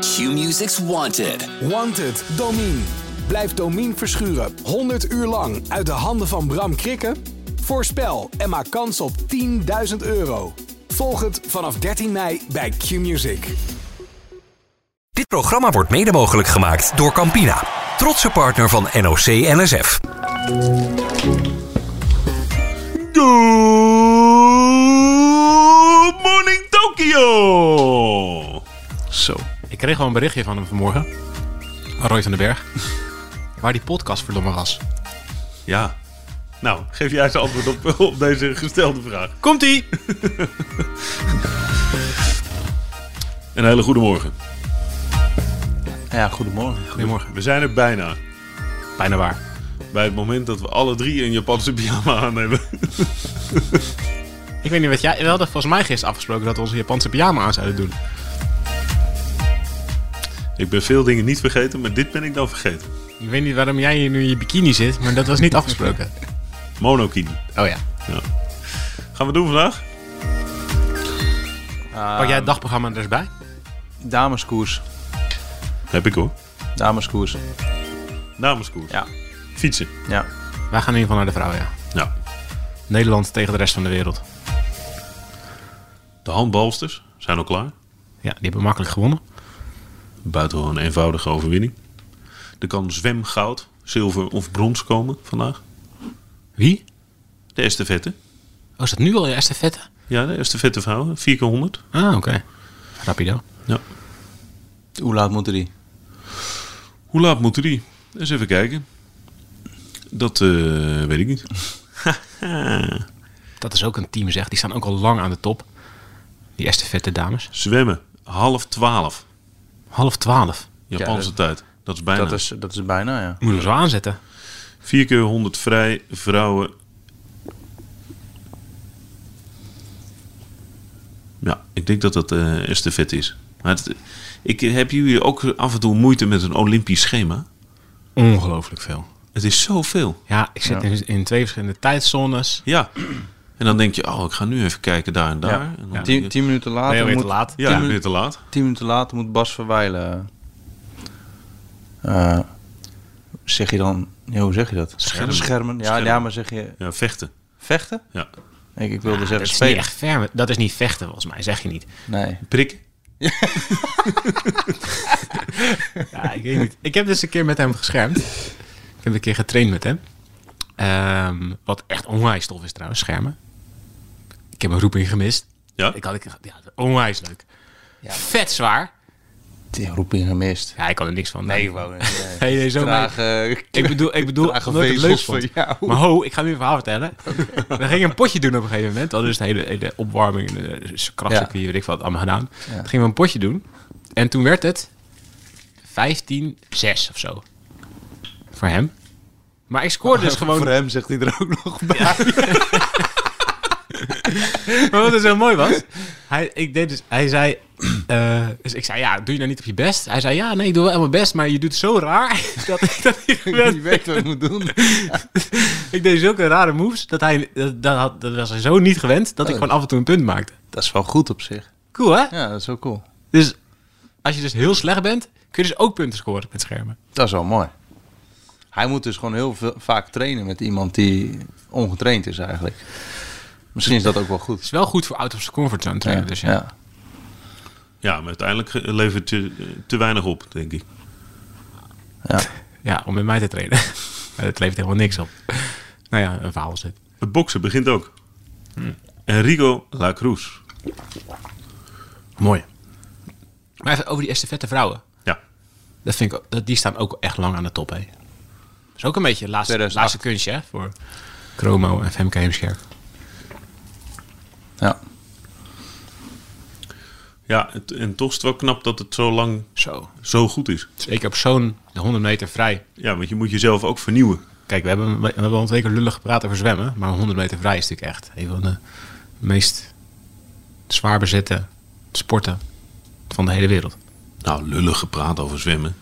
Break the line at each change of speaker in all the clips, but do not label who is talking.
Q-Music's Wanted.
Wanted, Domien. Blijf Domien verschuren 100 uur lang uit de handen van Bram Krikke? Voorspel en maak kans op 10.000 euro. Volg het vanaf 13 mei bij Q-Music.
Dit programma wordt mede mogelijk gemaakt door Campina, trotse partner van NOC NSF.
Good morning Tokyo! Zo. Ik kreeg wel een berichtje van hem vanmorgen. Van Roy van den Berg. Waar die podcast verdomme was.
Ja. Nou, geef jij eens antwoord op, op deze gestelde vraag.
Komt-ie!
Een hele goede morgen.
Ja, goedemorgen. Goedemorgen.
We zijn er bijna.
Bijna waar.
Bij het moment dat we alle drie een Japanse pyjama aan hebben.
Ik weet niet wat jij... We hadden volgens mij gisteren afgesproken dat we onze Japanse pyjama aan zouden doen.
Ik ben veel dingen niet vergeten, maar dit ben ik dan vergeten.
Ik weet niet waarom jij hier nu in je bikini zit, maar dat was niet afgesproken.
Monokini.
Oh ja.
Gaan we doen vandaag?
Pak jij het dagprogramma er eens bij?
Dameskoers.
Heb ik hoor.
Dameskoers.
Namenskoers.
Ja.
Fietsen.
Ja.
Wij gaan in ieder geval naar de vrouwen, ja.
Nou,
Nederland tegen de rest van de wereld.
de handbalsters zijn al klaar.
Ja, die hebben makkelijk gewonnen.
Buitengewoon een eenvoudige overwinning. Er kan zwemgoud, zilver of brons komen vandaag.
Wie?
De estafette.
Oh, is dat nu al je estafette?
Ja, de estafette vrouwen. 4 keer 100.
Ah, oké. Rapido.
Ja.
Hoe laat moeten die?
Hoe laat moeten die? Eens even kijken. Dat eh, weet ik niet.
Dat is ook een team, zeg. Die staan ook al lang aan de top. Die estafette dames.
Zwemmen, half twaalf,
Half twaalf.
Japanse
Ja,
tijd. Dat is bijna.
Dat is, dat is bijna, ja.
Moet je zo aanzetten.
Vier keer 100 vrij, vrouwen. Ja, ik denk dat dat eh estafette is. Maar het, ik heb jullie ook af en toe moeite met een Olympisch schema.
Ongelooflijk veel.
Het is zoveel.
Ja, ik zit In, in twee verschillende tijdzones.
Ja. En dan denk je, oh, ik ga nu even kijken daar en daar.
Ja.
En dan-
Ja. Tien, tien minuten later
Ben je weer
moet,
te laat?
Ja,
tien
weer
minuten-
te laat.
tien minuten later moet Bas Verwijlen... eh, zeg je dan... Ja, hoe zeg je dat?
Schermen.
Schermen. Ja,
Schermen.
ja, maar zeg je
Ja, vechten.
vechten?
Ja.
Ik, ik wilde
Ah,
zeggen
dat is niet
spelen.
echt ver. Dat is niet vechten, volgens mij. Zeg je niet.
Nee.
Prik.
Ja, ik weet niet. Ik heb dus een keer met hem geschermd. Ik heb een keer getraind met hem. Ehm, wat echt onwijs tof is trouwens, schermen. Ik heb een roeping gemist.
Ja.
Ik had, ik, ja, onwijs leuk. Vet zwaar.
Die roeping gemist.
Ja, ik kan er niks van. Nee,
wou
nee, nee, zo maar- Ik bedoel, ik bedoel
Trage
omdat ik het leuk
vezels
vond.
van jou.
Maar ho, ik ga nu een verhaal vertellen. We gingen een potje doen op een gegeven moment. Dat is de hele, hele opwarming, de krachtcircuit, weet ik wat, allemaal gedaan. Toen gingen we een potje doen. En toen werd het 15-6 of zo. Voor hem. Maar ik scoorde dus gewoon...
Voor hem zegt hij er ook nog bij.
Maar wat dus zo mooi was, hij, ik deed dus, hij zei, eh, dus ik zei, ja, doe je nou niet op je best? Hij zei, ja, nee, ik doe wel mijn best, maar je doet zo raar dat ik dat niet gewend
Die weet wat hij moet doen.
Ik deed zulke rare moves dat hij dat, dat, had, dat was hij zo niet gewend dat ik
Oh.
gewoon af en toe een punt maakte.
Dat is wel goed op zich.
Cool hè?
Ja, dat is wel cool.
Dus als je dus heel slecht bent, kun je dus ook punten scoren met schermen.
Dat is wel mooi. Hij moet dus gewoon heel veel, vaak trainen met iemand die ongetraind is eigenlijk. Misschien is dat ook wel
Het is
goed.
wel goed voor out of comfortzone trainen. dus ja.
ja.
Ja, maar uiteindelijk eh, levert het te, te weinig op, denk ik.
ja, om met mij te trainen. maar dat levert helemaal niks op. nou ja, een verhaal is dit.
Het boksen begint ook. Enrico La Cruz.
Mooi. Maar even over die estafette vrouwen.
Ja,
Dat vind ik, ook- dat, die staan ook echt lang aan de top, hè. Dat is ook een beetje het laatste,
2008.
laatste kunstje, hè, voor Chromo en Femke Heemskerk.
ja.
ja het, en toch is het wel knap dat het zo lang
Zo.
zo goed is.
Zeker op zo'n de 100 meter vrij.
Ja, want je moet jezelf ook vernieuwen.
Kijk, we hebben, we hebben al twee keer lullig gepraat over zwemmen. Maar 100 meter vrij is natuurlijk echt een van de meest zwaar bezette sporten van de hele wereld.
Nou, lullig gepraat over zwemmen.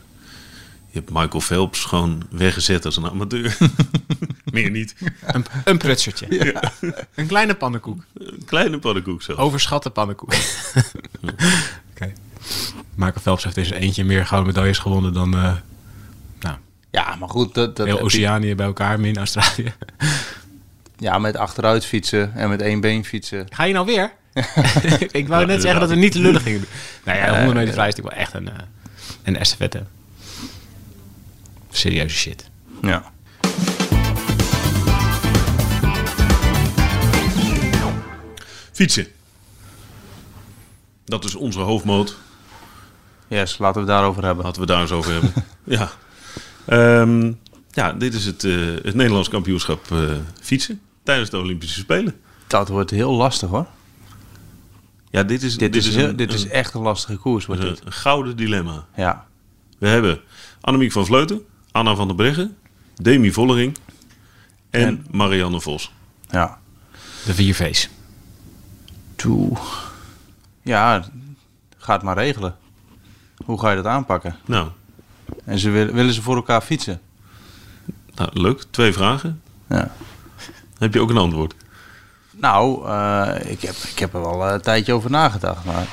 Je hebt Michael Phelps gewoon weggezet als een amateur. Meer niet.
Een, een prutsertje. Een kleine pannenkoek.
Een kleine paddenkoek zelf.
Overschatte pannenkoek. Oké. Michael Phelps heeft in zijn eentje meer gouden medailles gewonnen dan eh, nou,
Ja, maar goed, dat, dat
heel
heb je-
Oceanië bij elkaar, min Australië.
Ja, met achteruit fietsen en met één been fietsen.
Ga je nou weer? ik wou net zeggen dat we niet te lullig gingen doen. Nou ja, 100 meter vrij is natuurlijk wel echt een, eh, een estafette. Serieuze shit.
Ja.
Fietsen. Dat is onze hoofdmoot.
Yes, laten we het daarover hebben.
Laten we daar eens over hebben. ja. Ehm, ja, dit is het, eh, het Nederlands kampioenschap eh, fietsen tijdens de Olympische Spelen.
Dat wordt heel lastig hoor.
Ja, dit is,
Dit, is, heel-
een,
dit is
een-
echt een lastige koers wordt dit.
een- een gouden dilemma.
Ja.
We hebben Annemiek van Vleuten, Anna van der Breggen, Demi Vollering en,
En-
Marianne Vos.
Ja.
De vier V's.
Toe. Ja, ga het maar regelen. Hoe ga je dat aanpakken?
Nou,
En ze willen, willen ze voor elkaar fietsen?
nou, leuk. Twee vragen.
Ja.
Heb je ook een antwoord?
Nou, eh, ik, heb, ik heb er wel eh, een tijdje over nagedacht, maar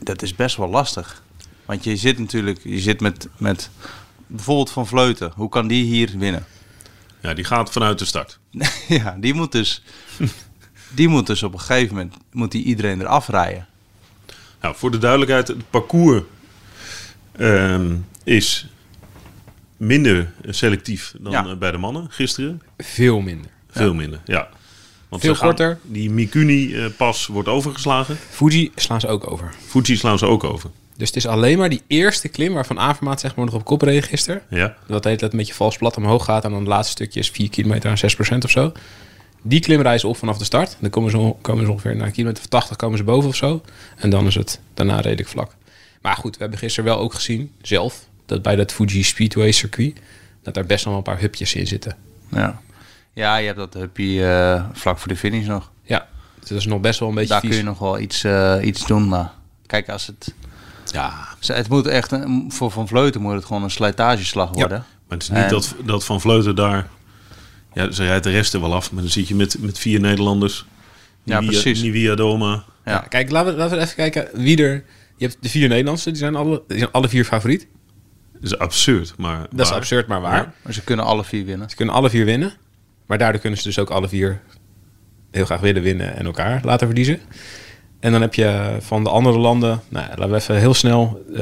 dat is best wel lastig. Want je zit natuurlijk, je zit met, met bijvoorbeeld Van Vleuten. Hoe kan die hier winnen?
Ja, die gaat vanuit de start.
ja, die moet dus, die moet dus op een gegeven moment moet die iedereen eraf rijden.
Nou, voor de duidelijkheid, het parcours ehm, is minder selectief dan
Ja.
eh, bij de mannen gisteren.
Veel minder.
Veel minder, ja. Want
Veel
ze gaan-
korter.
Die Mikuni-pas wordt overgeslagen.
Fuji slaan ze ook over.
Fuji slaan ze ook over.
Dus het is alleen maar die eerste klim waarvan Avermaat zeg maar nog op kop reed gisteren.
Ja.
Dat heet dat met je vals plat omhoog gaat en dan het laatste stukje is 4 kilometer aan 6% of zo. Die klim rijden ze op vanaf de start. Dan komen ze, on- komen ze ongeveer naar een kilometer of 80 komen ze boven of zo. En dan is het daarna redelijk vlak. Maar goed, we hebben gisteren wel ook gezien, zelf, dat bij dat Fuji Speedway circuit, dat daar best nog wel een paar hupjes in zitten.
Ja, ja je hebt dat hupje eh, vlak voor de finish nog.
Ja, dus dat is nog best wel een beetje
Daar
vies.
kun je nog wel iets, eh, iets doen, maar kijk, als het...
Ja.
ze- Het moet echt, een- voor Van Vleuten moet het gewoon een slijtageslag worden.
Maar het is niet
En-
dat, dat Van Vleuten daar... Ja, ze rijdt de rest er wel af. Maar dan zit je met, met vier Nederlanders.
Ja,
Nivia-
precies.
Nivia Doma.
Ja.
Ja, kijk, laten we, laten we even kijken wie er... Je hebt de vier Nederlandse, die zijn alle, die zijn alle vier favoriet.
Dat is absurd, maar
Dat is
waar.
absurd, maar waar.
Ja.
Maar ze kunnen alle vier winnen.
Ze kunnen alle vier winnen. Maar daardoor kunnen ze dus ook alle vier heel graag willen winnen en elkaar laten verliezen. En dan heb je van de andere landen, nou, ja, laten we even heel snel. eh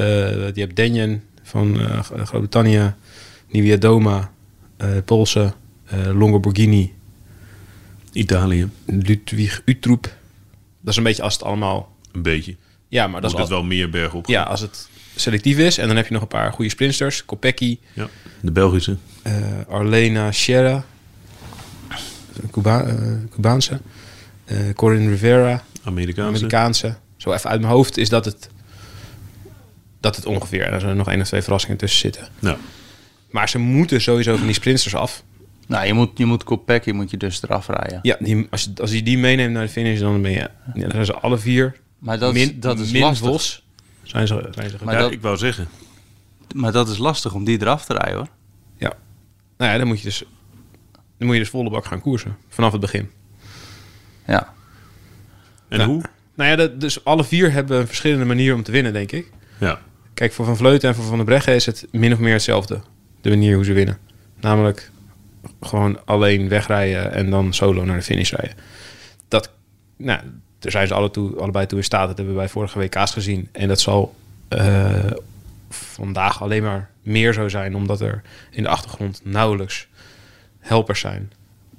je hebt Denjen van eh, Gro- Groot-Brittannië, Nivea Doma, eh, Poolse, eh Longo Borghini,
Italië,
Ludwig Utroep. Dat is een beetje als het allemaal.
een beetje.
Ja,
Dat
maar dat
Moet
is
het
als,
wel meer berg op.
ja, als het selectief is. En dan heb je nog een paar goede sprinsters. Kopecky,
Ja. De Belgische.
eh, Arlena Sierra, Cuba eh, Cubaanse, eh, Corinne Rivera,
Amerikaanse.
Amerikaanse. Zo even uit mijn hoofd is dat het, dat het ongeveer. Er zijn nog één of twee verrassingen tussen zitten.
Nou,
Maar ze moeten sowieso van die sprinters af.
Nou, je moet, je moet Kopecky moet je dus eraf rijden.
Ja, die, als, je, als je die meeneemt naar de finish, dan ben je. Ja, dan zijn ze alle vier.
Maar dat,
min,
dat is
min
lastig.
Vos. Zijn ze, zijn ze
Maar
ja,
dat-
ik wou zeggen.
Maar dat is lastig om die eraf te rijden hoor.
ja. Nou ja, dan moet je dus. Dan moet je dus volle bak gaan koersen. Vanaf het begin.
Ja.
En
Nou,
hoe?
Nou ja, dat, dus alle vier hebben een verschillende manier om te winnen, denk ik.
Ja.
Kijk, voor Van Vleuten en voor Van der Breggen is het min of meer hetzelfde. De manier hoe ze winnen. Namelijk gewoon alleen wegrijden en dan solo naar de finish rijden. Dat, nou, daar zijn ze alle toe, allebei toe in staat. Dat hebben we bij vorige WK's gezien. En dat zal eh, vandaag alleen maar meer zo zijn. Omdat er in de achtergrond nauwelijks helpers zijn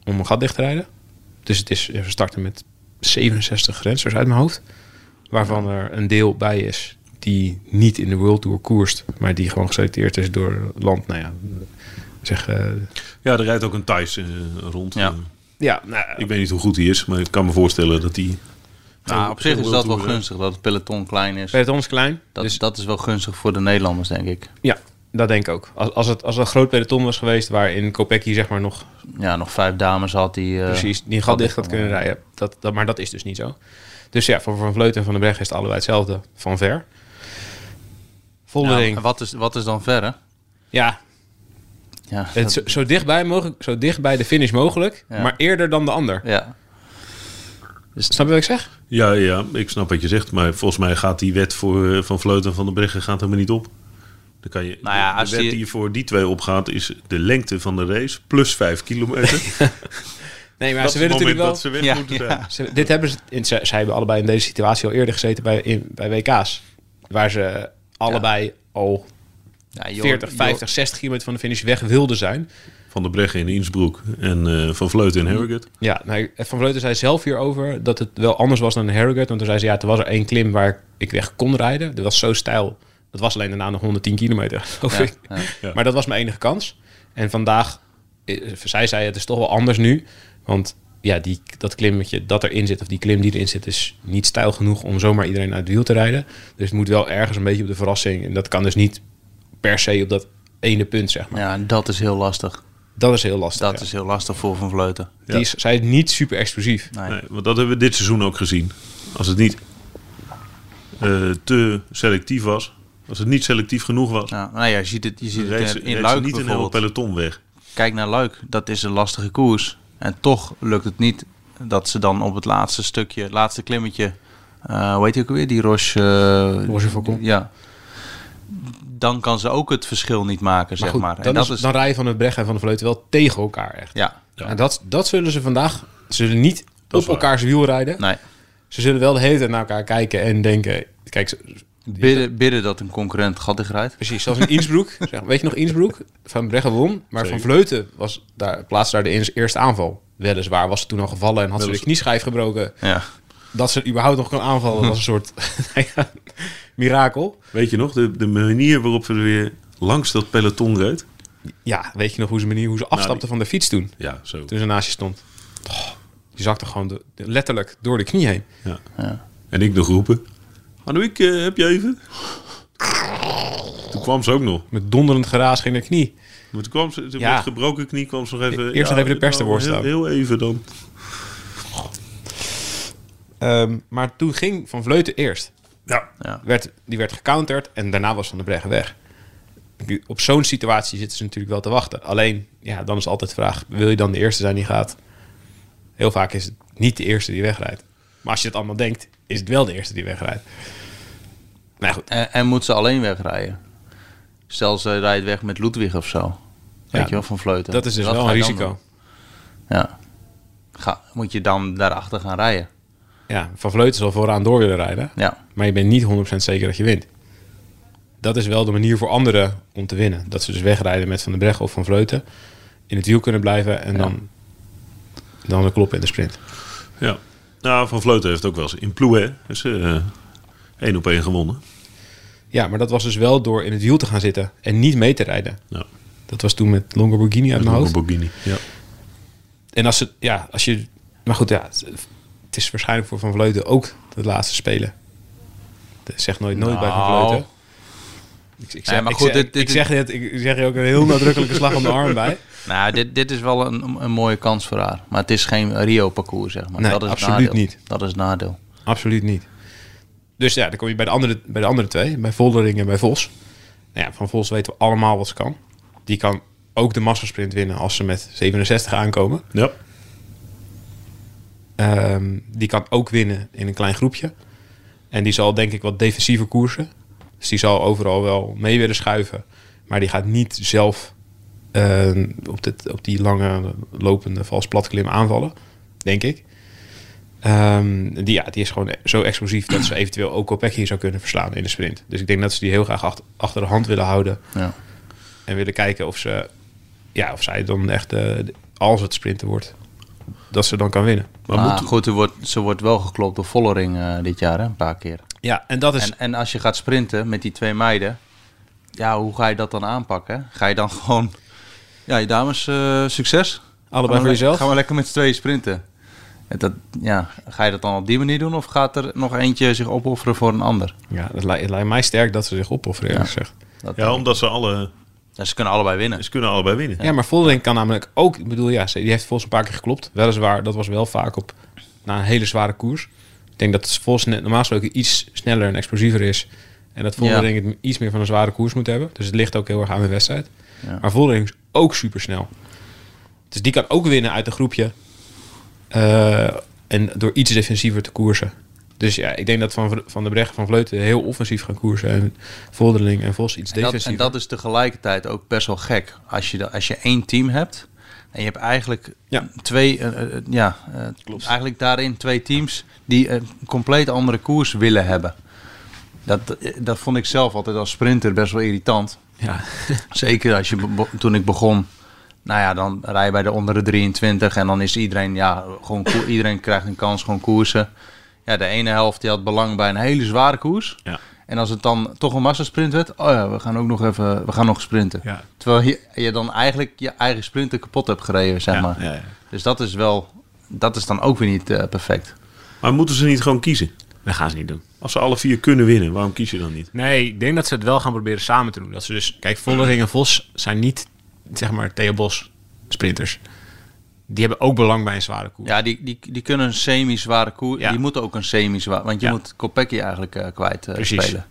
om een gat dicht te rijden. Dus het is, we starten met 67 grensers uit mijn hoofd waarvan er een deel bij is die niet in de World Tour koerst, maar die gewoon geselecteerd is door land. Nou ja, zeg. eh,
ja, er rijdt ook een Thijs eh, rond.
Ja.
Eh,
ja, nou,
Ik weet niet hoe goed hij is, maar ik kan me voorstellen dat hij...
Nou, op zich is dat wel
Tour, hè?
gunstig dat het peloton klein is.
peloton is klein.
Dat,
dus
dat is wel gunstig voor de Nederlanders, denk ik.
ja, dat denk ik ook. Als, als het als het een groot peloton was geweest, waarin Kopecky zeg maar nog
Ja, nog vijf dames had die. eh,
precies die een gat dicht had
dicht
kunnen rijden. Dat, dat, maar dat is dus niet zo. Dus ja, voor Van Vleuten en Van den Berg is het allebei hetzelfde van ver.
Ja,
Voldering.
en wat, is, wat is dan verder?
ja,
Ja,
het, zo,
dat-
zo, dichtbij mogelijk, zo dicht bij de finish mogelijk,
Ja.
maar eerder dan de ander.
ja.
Snap je wat ik zeg?
Ja, ja, ik snap wat je zegt. Maar volgens mij gaat die wet voor, eh, van Vleuten en Van der Breggen gaat helemaal niet op. Dan kan je,
Nou ja,
de-
als
de wet
die-
die voor die twee opgaat is de lengte van de race plus vijf kilometer.
Nee, maar
dat
ze
is het moment
willen natuurlijk wel...
dat ze weg
Ja,
moeten
ja.
zijn.
Ze- dit hebben ze, in, ze, zij hebben allebei in deze situatie al eerder gezeten bij, in, bij WK's. Waar ze allebei al
Ja, joh,
40,
joh.
50, 60 kilometer van de finish weg wilden zijn.
Van der Breggen in Innsbruck en eh, Van Vleuten
Mhm.
in Harrogate.
Ja, nou, Van Vleuten zei zelf hierover dat het wel anders was dan een Harrogate. Want toen zei ze, ja, er was er één klim waar ik weg kon rijden. Dat was zo stijl. Dat was alleen daarna nog 110 kilometer, geloof ik.
ja.
Maar dat was mijn enige kans. En vandaag, eh, zij zei, het is toch wel anders nu. Want ja, die, dat klimmetje dat erin zit, of die klim die erin zit, is niet stijl genoeg om zomaar iedereen uit het wiel te rijden. Dus het moet wel ergens een beetje op de verrassing. En dat kan dus niet per se op dat ene punt, zeg maar.
Ja, en dat is heel lastig.
Dat is heel lastig.
Dat
ja.
is heel lastig voor Van Vleuten.
Die is, zij is niet super explosief.
Nee.
Nee, want dat hebben we dit seizoen ook gezien. Als het niet eh, te selectief was, als het niet selectief genoeg was,
Nou, nou ja, je ziet het, je ziet
reed
het
ze-
in, in
reed ze
Luik
niet een hele
bijvoorbeeld.
peloton weg.
Kijk naar Luik, dat is een lastige koers. En toch lukt het niet dat ze dan op het laatste stukje, het laatste klimmetje, eh hoe heet die ook alweer, die Roche... eh,
Roche Faucon.
Ja. Dan kan ze ook het verschil niet maken,
Maar
zeg
goed,
maar. En
dan,
dat
is, dan rijden Van het Brecht en Van de Vleuten wel tegen elkaar echt.
Ja,
En dat, dat zullen ze vandaag, ze zullen niet op
waar.
elkaars wiel rijden.
nee.
Ze zullen wel de hele tijd naar elkaar kijken en denken... Kijk, ze-
Bidden, bidden dat een concurrent gat dichtrijdt.
Precies, zelfs in Innsbruck. zeg, maar, weet je nog, Innsbruck? Van Breggen won, maar Van Vleuten was daar, plaatste daar de ins- eerste aanval. Weliswaar was ze toen al gevallen en had ze de knieschijf gebroken.
Ja.
Dat ze überhaupt nog kon aanvallen was een soort nou ja, mirakel.
Weet je nog, de, de manier waarop we weer langs dat peloton reed?
Ja, weet je nog hoe ze, manier,
Nou,
hoe ze afstapte van de fiets toen?
Ja, zo.
Toen ze naast je stond. Oh, die zakte gewoon de- de- letterlijk door de knie heen.
Ja. En ik nog roepen. Anouk, eh, heb je even? Toen kwam ze ook nog.
Met donderend geraas ging de knie.
Maar toen kwam ze, toen
Ja. E-,
met gebroken knie kwam ze nog even...
Eerst nog even de pers te woord
heel-
staan.
Heel even dan.
Ehm, maar toen ging Van Vleuten eerst.
Ja.
werd, die werd gecounterd en daarna was Van der Breggen weg. Nu, Op zo'n situatie zitten ze natuurlijk wel te wachten. Alleen, ja, dan is altijd de vraag, wil je dan de eerste zijn die gaat? Heel vaak is het niet de eerste die wegrijdt. Maar als je het allemaal denkt, is het wel de eerste die wegrijdt. Nou ja, goed,
En, en moet ze alleen wegrijden? Stel, ze rijdt weg met Ludwig of zo. Weet je wel, van Vleuten.
dat is dus
Wat
wel
ga
een
je dan
risico.
doen? Ja. Ga, moet je dan daarachter gaan rijden?
Ja, Van Vleuten zal vooraan door willen rijden.
Ja.
Maar je bent niet 100% zeker dat je wint. Dat is wel de manier voor anderen om te winnen. Dat ze dus wegrijden met Van der Breggen of Van Vleuten. In het wiel kunnen blijven en dan, dan de kloppen in de sprint.
ja. Nou, Van Vleuten heeft ook wel eens in Plouet is, eh, één op één gewonnen.
Ja, maar dat was dus wel door in het wiel te gaan zitten en niet mee te rijden.
Ja.
Dat was toen met Longo Borghini uit
Met
mijn hoofd.
Lamborghini. Ja.
En als, ze, ja, als je... Maar goed, ja, het, het is waarschijnlijk voor Van Vleuten ook de laatste spelen. Dat zeg nooit nooit bij Van
Nou.
Vleuten. Ik, ik zeg,
Nee, maar
ik
goed,
zeg-
dit- dit-
ik zeg het, ik zeg je ook een heel nadrukkelijke slag om de arm bij.
Nou, dit, dit is wel een, een mooie kans voor haar. Maar het is geen Rio-parcours, zeg maar.
Nee,
dat is het
absoluut
nadeel.
niet.
Dat is het nadeel.
Absoluut niet. Dus ja, dan kom je bij de andere, bij de andere twee. Bij Voldering en bij Vos. Nou ja, van Vos weten we allemaal wat ze kan. Die kan ook de massasprint winnen als ze met 67 aankomen.
ja.
Ehm, die kan ook winnen in een klein groepje. En die zal denk ik wat defensiever koersen. Dus die zal overal wel mee willen schuiven. Maar die gaat niet zelf ehm, op, dit, op die lange lopende vals platklim aanvallen. Denk ik. Ehm, die, ja, die is gewoon zo explosief dat ze eventueel ook Kopecky zou kunnen verslaan in de sprint. Dus ik denk dat ze die heel graag ach- achter de hand willen houden.
Ja.
En willen kijken of, ze, ja, of zij dan echt, eh, als het sprinten wordt, dat ze dan kan winnen.
Maar goed, er wordt, ze wordt wel geklopt door Vollering eh, dit jaar, hè, een paar keer.
Ja, en dat is...
En, en als je gaat sprinten met die twee meiden, ja, hoe ga je dat dan aanpakken? Ga je dan gewoon, ja, je dames, eh, succes.
Allebei voor
Gaan we le-
jezelf?
Gaan we lekker met z'n tweeën sprinten. En Dat, ja, ga je dat dan op die manier doen of gaat er nog eentje zich opofferen voor een ander?
Ja, het lijkt, het lijkt mij sterk dat ze zich opofferen, eerlijk gezegd.
Dat,
ja, omdat ze alle...
Ja, ze kunnen allebei winnen.
Ze kunnen allebei winnen.
Ja, maar Voldering kan namelijk ook... Ik bedoel, ja, ze- die heeft Vos een paar keer geklopt. Weliswaar, dat was wel vaak op na een hele zware koers. Ik denk dat Vos net, normaal gesproken iets sneller en explosiever is. En dat Voldering het iets meer van een zware koers moet hebben. Dus het ligt ook heel erg aan de wedstrijd. Maar Voldering is ook supersnel. Dus die kan ook winnen uit een groepje. eh, en door iets defensiever te koersen. Dus ja, ik denk dat Van, van de Brecht van Vleuten heel offensief gaan koersen. En Voldering en Vos iets
En dat,
defensief.
en dat is tegelijkertijd ook best wel gek. Als je, da- als je één team hebt en je hebt eigenlijk
Ja.
twee, eh, eh, ja, eh, eigenlijk daarin twee teams die een compleet andere koers willen hebben. Dat, eh, dat vond ik zelf altijd als sprinter best wel irritant.
Ja.
Zeker als je be- be- toen ik begon. Nou ja, dan rij je bij de onder de 23 en dan is iedereen, ja, gewoon ko- iedereen krijgt een kans, gewoon koersen. Ja, de ene helft die had belang bij een hele zware koers.
Ja.
En als het dan toch een massasprint werd, oh ja, we gaan ook nog even, we gaan nog sprinten.
Ja.
Terwijl je, je dan eigenlijk je eigen sprinter kapot hebt gereden, zeg maar.
ja, ja.
Dus dat is wel, dat is dan ook weer niet eh, perfect.
Maar moeten ze niet gewoon kiezen?
Dat gaan ze niet doen.
Als ze alle vier kunnen winnen, waarom kies je dan niet?
Nee, ik denk dat ze het wel gaan proberen samen te doen. Dat ze dus, kijk, Vollering en Vos zijn niet, zeg maar, Theo Bos sprinters. Die hebben ook belang bij een zware koers.
Ja, die, die, die kunnen een semi-zware koer,
Ja.
die moeten ook een semi-zware, want je
Ja.
moet Kopecky eigenlijk eh, kwijt eh,
Precies.
spelen.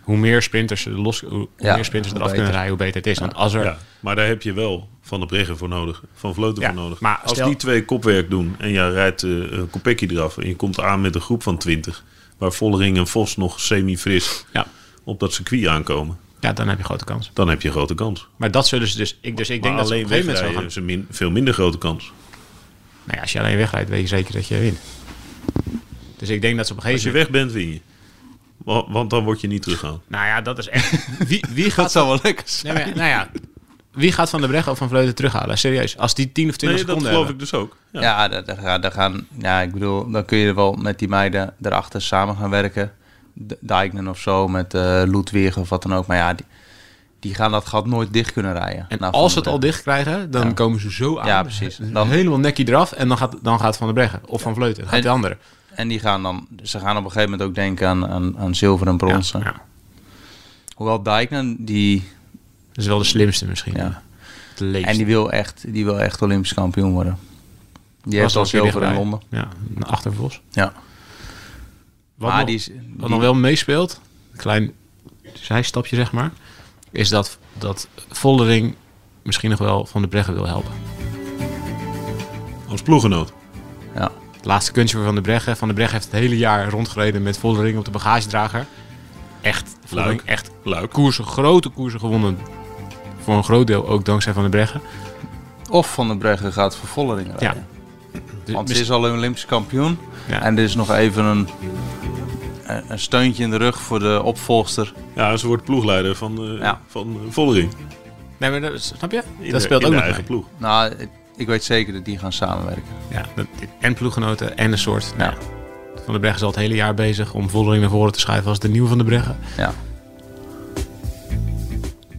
Hoe meer sprinters, er los, hoe, hoe
Ja,
meer sprinters
hoe
eraf kunnen
beter.
rijden, hoe beter het is. Want als er...
Ja, maar daar heb je wel Van de Breggen voor nodig. Van Vleuten
Ja,
voor nodig.
maar
Als
stel-
die twee kopwerk doen en jij rijdt eh een Kopecky eraf... en je komt aan met een groep van 20... waar Vollering en Vos nog semi-fris
Ja.
op dat circuit aankomen...
ja, dan heb je grote kans.
dan heb je een grote kans.
Maar dat zullen ze dus... Ik, dus ik
Maar
denk dat ze op
alleen
een gegeven moment
wegrijden dus.
zullen
is een
gaan...
min- veel minder grote kans.
Nou ja, als je alleen wegrijdt, weet je zeker dat je wint. Dus ik denk dat ze op een
Als je
gegeven moment...
weg bent, win je. Wa- Want dan word je niet teruggehaald.
Nou ja, dat is echt... Wie, wie gaat...
Dat zou wel lekker zijn.
Nee, maar ja, nou ja, wie gaat Van der Breggen of Van Vleuten terughalen? Serieus, als die 10 of 20
Nee, dat
seconden
geloof ik
hebben.
dus ook. Ja.
Ja, daar, daar, gaan- daar gaan, ja, ik bedoel, dan kun je er wel met die meiden erachter samen gaan werken. D- Dijknen of zo, met eh Ludwig of wat dan ook. Maar ja, die, die gaan dat gat nooit dicht kunnen rijden.
En
Nou, Van
als ze
der
het al
Breggen.
dicht krijgen, dan komen ze zo aan.
Ja, precies.
Dan
Dan-
helemaal nekkie eraf en dan gaat, dan gaat Van der Breggen of Van Vleuten. Dan gaat
En-
de andere.
En die gaan dan, dus ze gaan op een gegeven moment ook denken aan, aan, aan zilver en bronzen.
Ja, ja.
Hoewel Dijknen, die,
Dat is wel de slimste misschien.
Ja.
Het leefste.
en die wil echt, die wil echt Olympisch kampioen worden. Die
Was
heeft al
al keer
zilver in
dichtbij.
Londen.
Ja, een achtervos.
Ja.
Wat,
maar
nog,
die is,
wat
die-
nog wel meespeelt, een klein zijstapje zeg maar, is dat, dat Voldering misschien nog wel Van der Breggen wil helpen.
Als ploegenoot.
ja.
Het laatste kunstje voor Van der Breggen. Van der Breggen heeft het hele jaar rondgereden met Voldering op de bagagedrager. Echt, Voldering,
Leuk.
echt
Leuk.
koersen, grote koersen gewonnen. Voor een groot deel ook dankzij Van der Breggen.
Of Van den Breggen gaat voor Vollering
Ja.
rijden.
Dus
Want ze
mis-
is al een Olympisch kampioen.
Ja.
En er is nog even een, een- een steuntje in de rug voor de opvolgster.
Ja, ze wordt ploegleider van, eh
Ja.
van eh, Vollering.
Nee, maar dat, snap je?
In
dat
de-
speelt
in
ook
de
nog
eigen ploeg.
Nou, ik- ik weet zeker dat die gaan samenwerken.
mee. Ja, dat- en ploeggenoten en een soort. nou
Ja.
ja, Van der Breggen is al het hele jaar bezig om Voldering naar voren te schuiven als de nieuwe Van der Breggen.
Ja.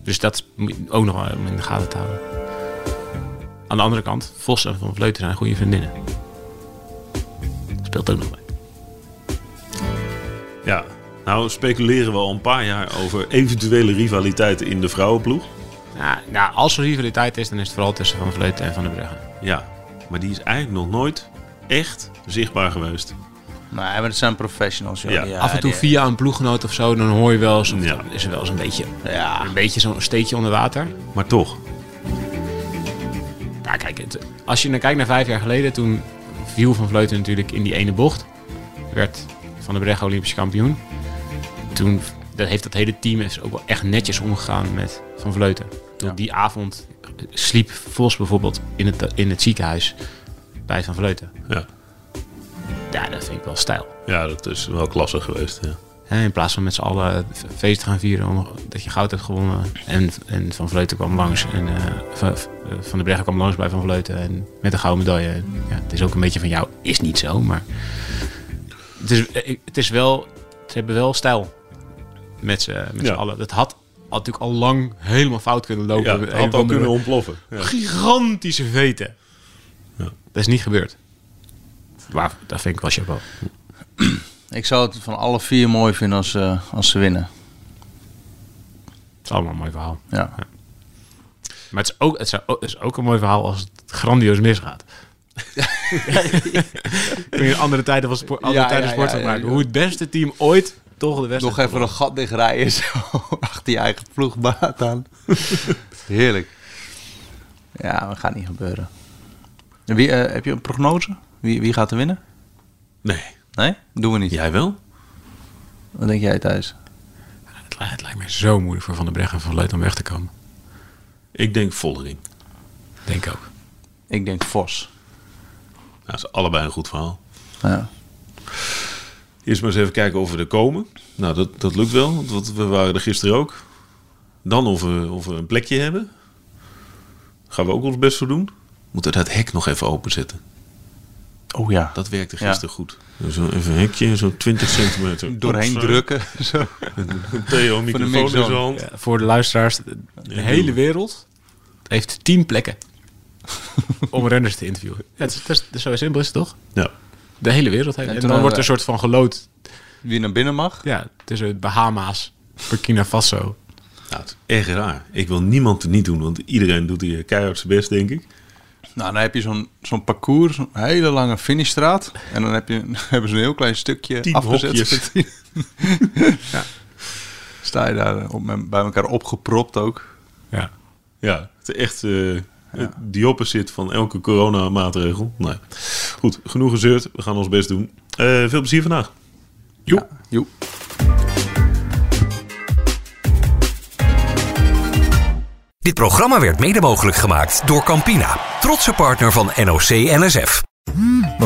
Dus dat moet je ook nog wel in de gaten te houden. Aan de andere kant, Vos en Van Vleuten zijn goede vriendinnen. Speelt ook nog mee.
Ja, nou speculeren we al een paar jaar over eventuele rivaliteiten in de vrouwenploeg.
Nou, nou, als er rivaliteit is, dan is het vooral tussen Van Vleuten en Van der Breggen.
Ja, maar die is eigenlijk nog nooit echt zichtbaar geweest.
Nee, maar dat zijn professionals. joh.
Ja,
Die,
Af en toe
die-
via een ploeggenoot of zo, dan hoor je wel eens, of
Ja.
dan is er wel eens een beetje,
Ja.
een beetje zo'n steekje onder water.
Maar toch,
Ja, kijk, het- als je dan kijkt naar vijf jaar geleden, toen viel Van Vleuten natuurlijk in die ene bocht. Werd Van der Breggen Olympisch kampioen. Toen dat heeft dat hele team is ook wel echt netjes omgegaan met Van Vleuten. Toen die avond sliep Vos bijvoorbeeld in het, in het ziekenhuis bij Van Vleuten.
ja.
Ja, dat vind ik wel stijl.
Ja, dat is wel klasse geweest. Ja.
Hè, in plaats van met z'n allen f- feest te gaan vieren omdat je goud hebt gewonnen. En, en Van Vleuten kwam langs. En eh, Van, van de Breggen kwam langs bij Van Vleuten. En met een gouden medaille. En Ja, het is ook een beetje van jou. Is niet zo, maar... Het is, eh, het is wel... Ze hebben wel stijl. Met z'n met z'n
Ja.
allen. Het had, had natuurlijk al lang helemaal fout kunnen lopen.
Ja,
Een
het
of
had al
andere
kunnen ontploffen. Ja.
Gigantische veten.
Ja.
Dat is niet gebeurd. Maar dat vind ik wel chapeau.
Ik zou het van alle vier mooi vinden als, ze- als ze winnen.
Het is allemaal een mooi verhaal.
Ja.
Maar het is ook, het zou- het is ook een mooi verhaal als het grandioos misgaat. Kun je andere tijden van sport, andere
Ja,
tijden
ja,
sport
ja,
van
ja,
maken.
ja.
Hoe het beste team ooit toch de beste.
Nog even een gat dichtrijden. Zo, achter je eigen ploegbaat aan. Heerlijk. Ja, dat gaat niet gebeuren. Wie, eh, heb je een prognose? Wie, wie gaat er winnen?
Nee,
Nee? Doen we niet.
Jij wel?
Wat denk jij thuis?
Het, li- het lijkt me zo moeilijk voor Van der Breggen en Van Vleut om weg te komen.
Ik denk Voldering.
Denk ook.
Ik denk Vos.
Dat is allebei een goed verhaal.
Ja.
Eerst maar eens even kijken of we er komen. Nou, dat, dat lukt wel, want wat- we waren er gisteren ook. Dan of we, of we een plekje hebben. Gaan we ook ons best voor doen. Moeten we dat hek nog even openzetten.
Oh ja.
Dat werkte
Ja.
gisteren goed. Zo even een hekje, zo'n 20 centimeter.
Doorheen
Ops, eh,
drukken. Zo.
Theo, microfoon in zijn
mixzone.
hand.
Ja, voor de luisteraars, de hele wereld heeft tien plekken om renners te interviewen. Ja, het is, het is, het is zo simpel is het toch?
Ja.
De hele wereld heeft.
En
En
toen
dan wordt er
hadden
een soort van gelood
Wie naar binnen mag.
ja, tussen Bahama's, Burkina Faso.
Nou, het is echt raar. Ik wil niemand te niet doen, want iedereen doet hier keihard zijn best, denk ik.
Nou, dan heb je zo'n zo'n parcours, een hele lange finishstraat. En dan heb je, hebben ze een heel klein stukje
Tien
afgezet.
hokjes.
ja. Sta je daar eh, op, met- bij elkaar opgepropt ook.
Ja.
Ja, het is echt eh die opposite van elke coronamaatregel. Nee. Goed, genoeg gezeurd. We gaan ons best doen. Eh, veel plezier vandaag.
Joep. Joep.
Dit programma werd mede mogelijk gemaakt door Campina, trotse partner van NOC NSF.
We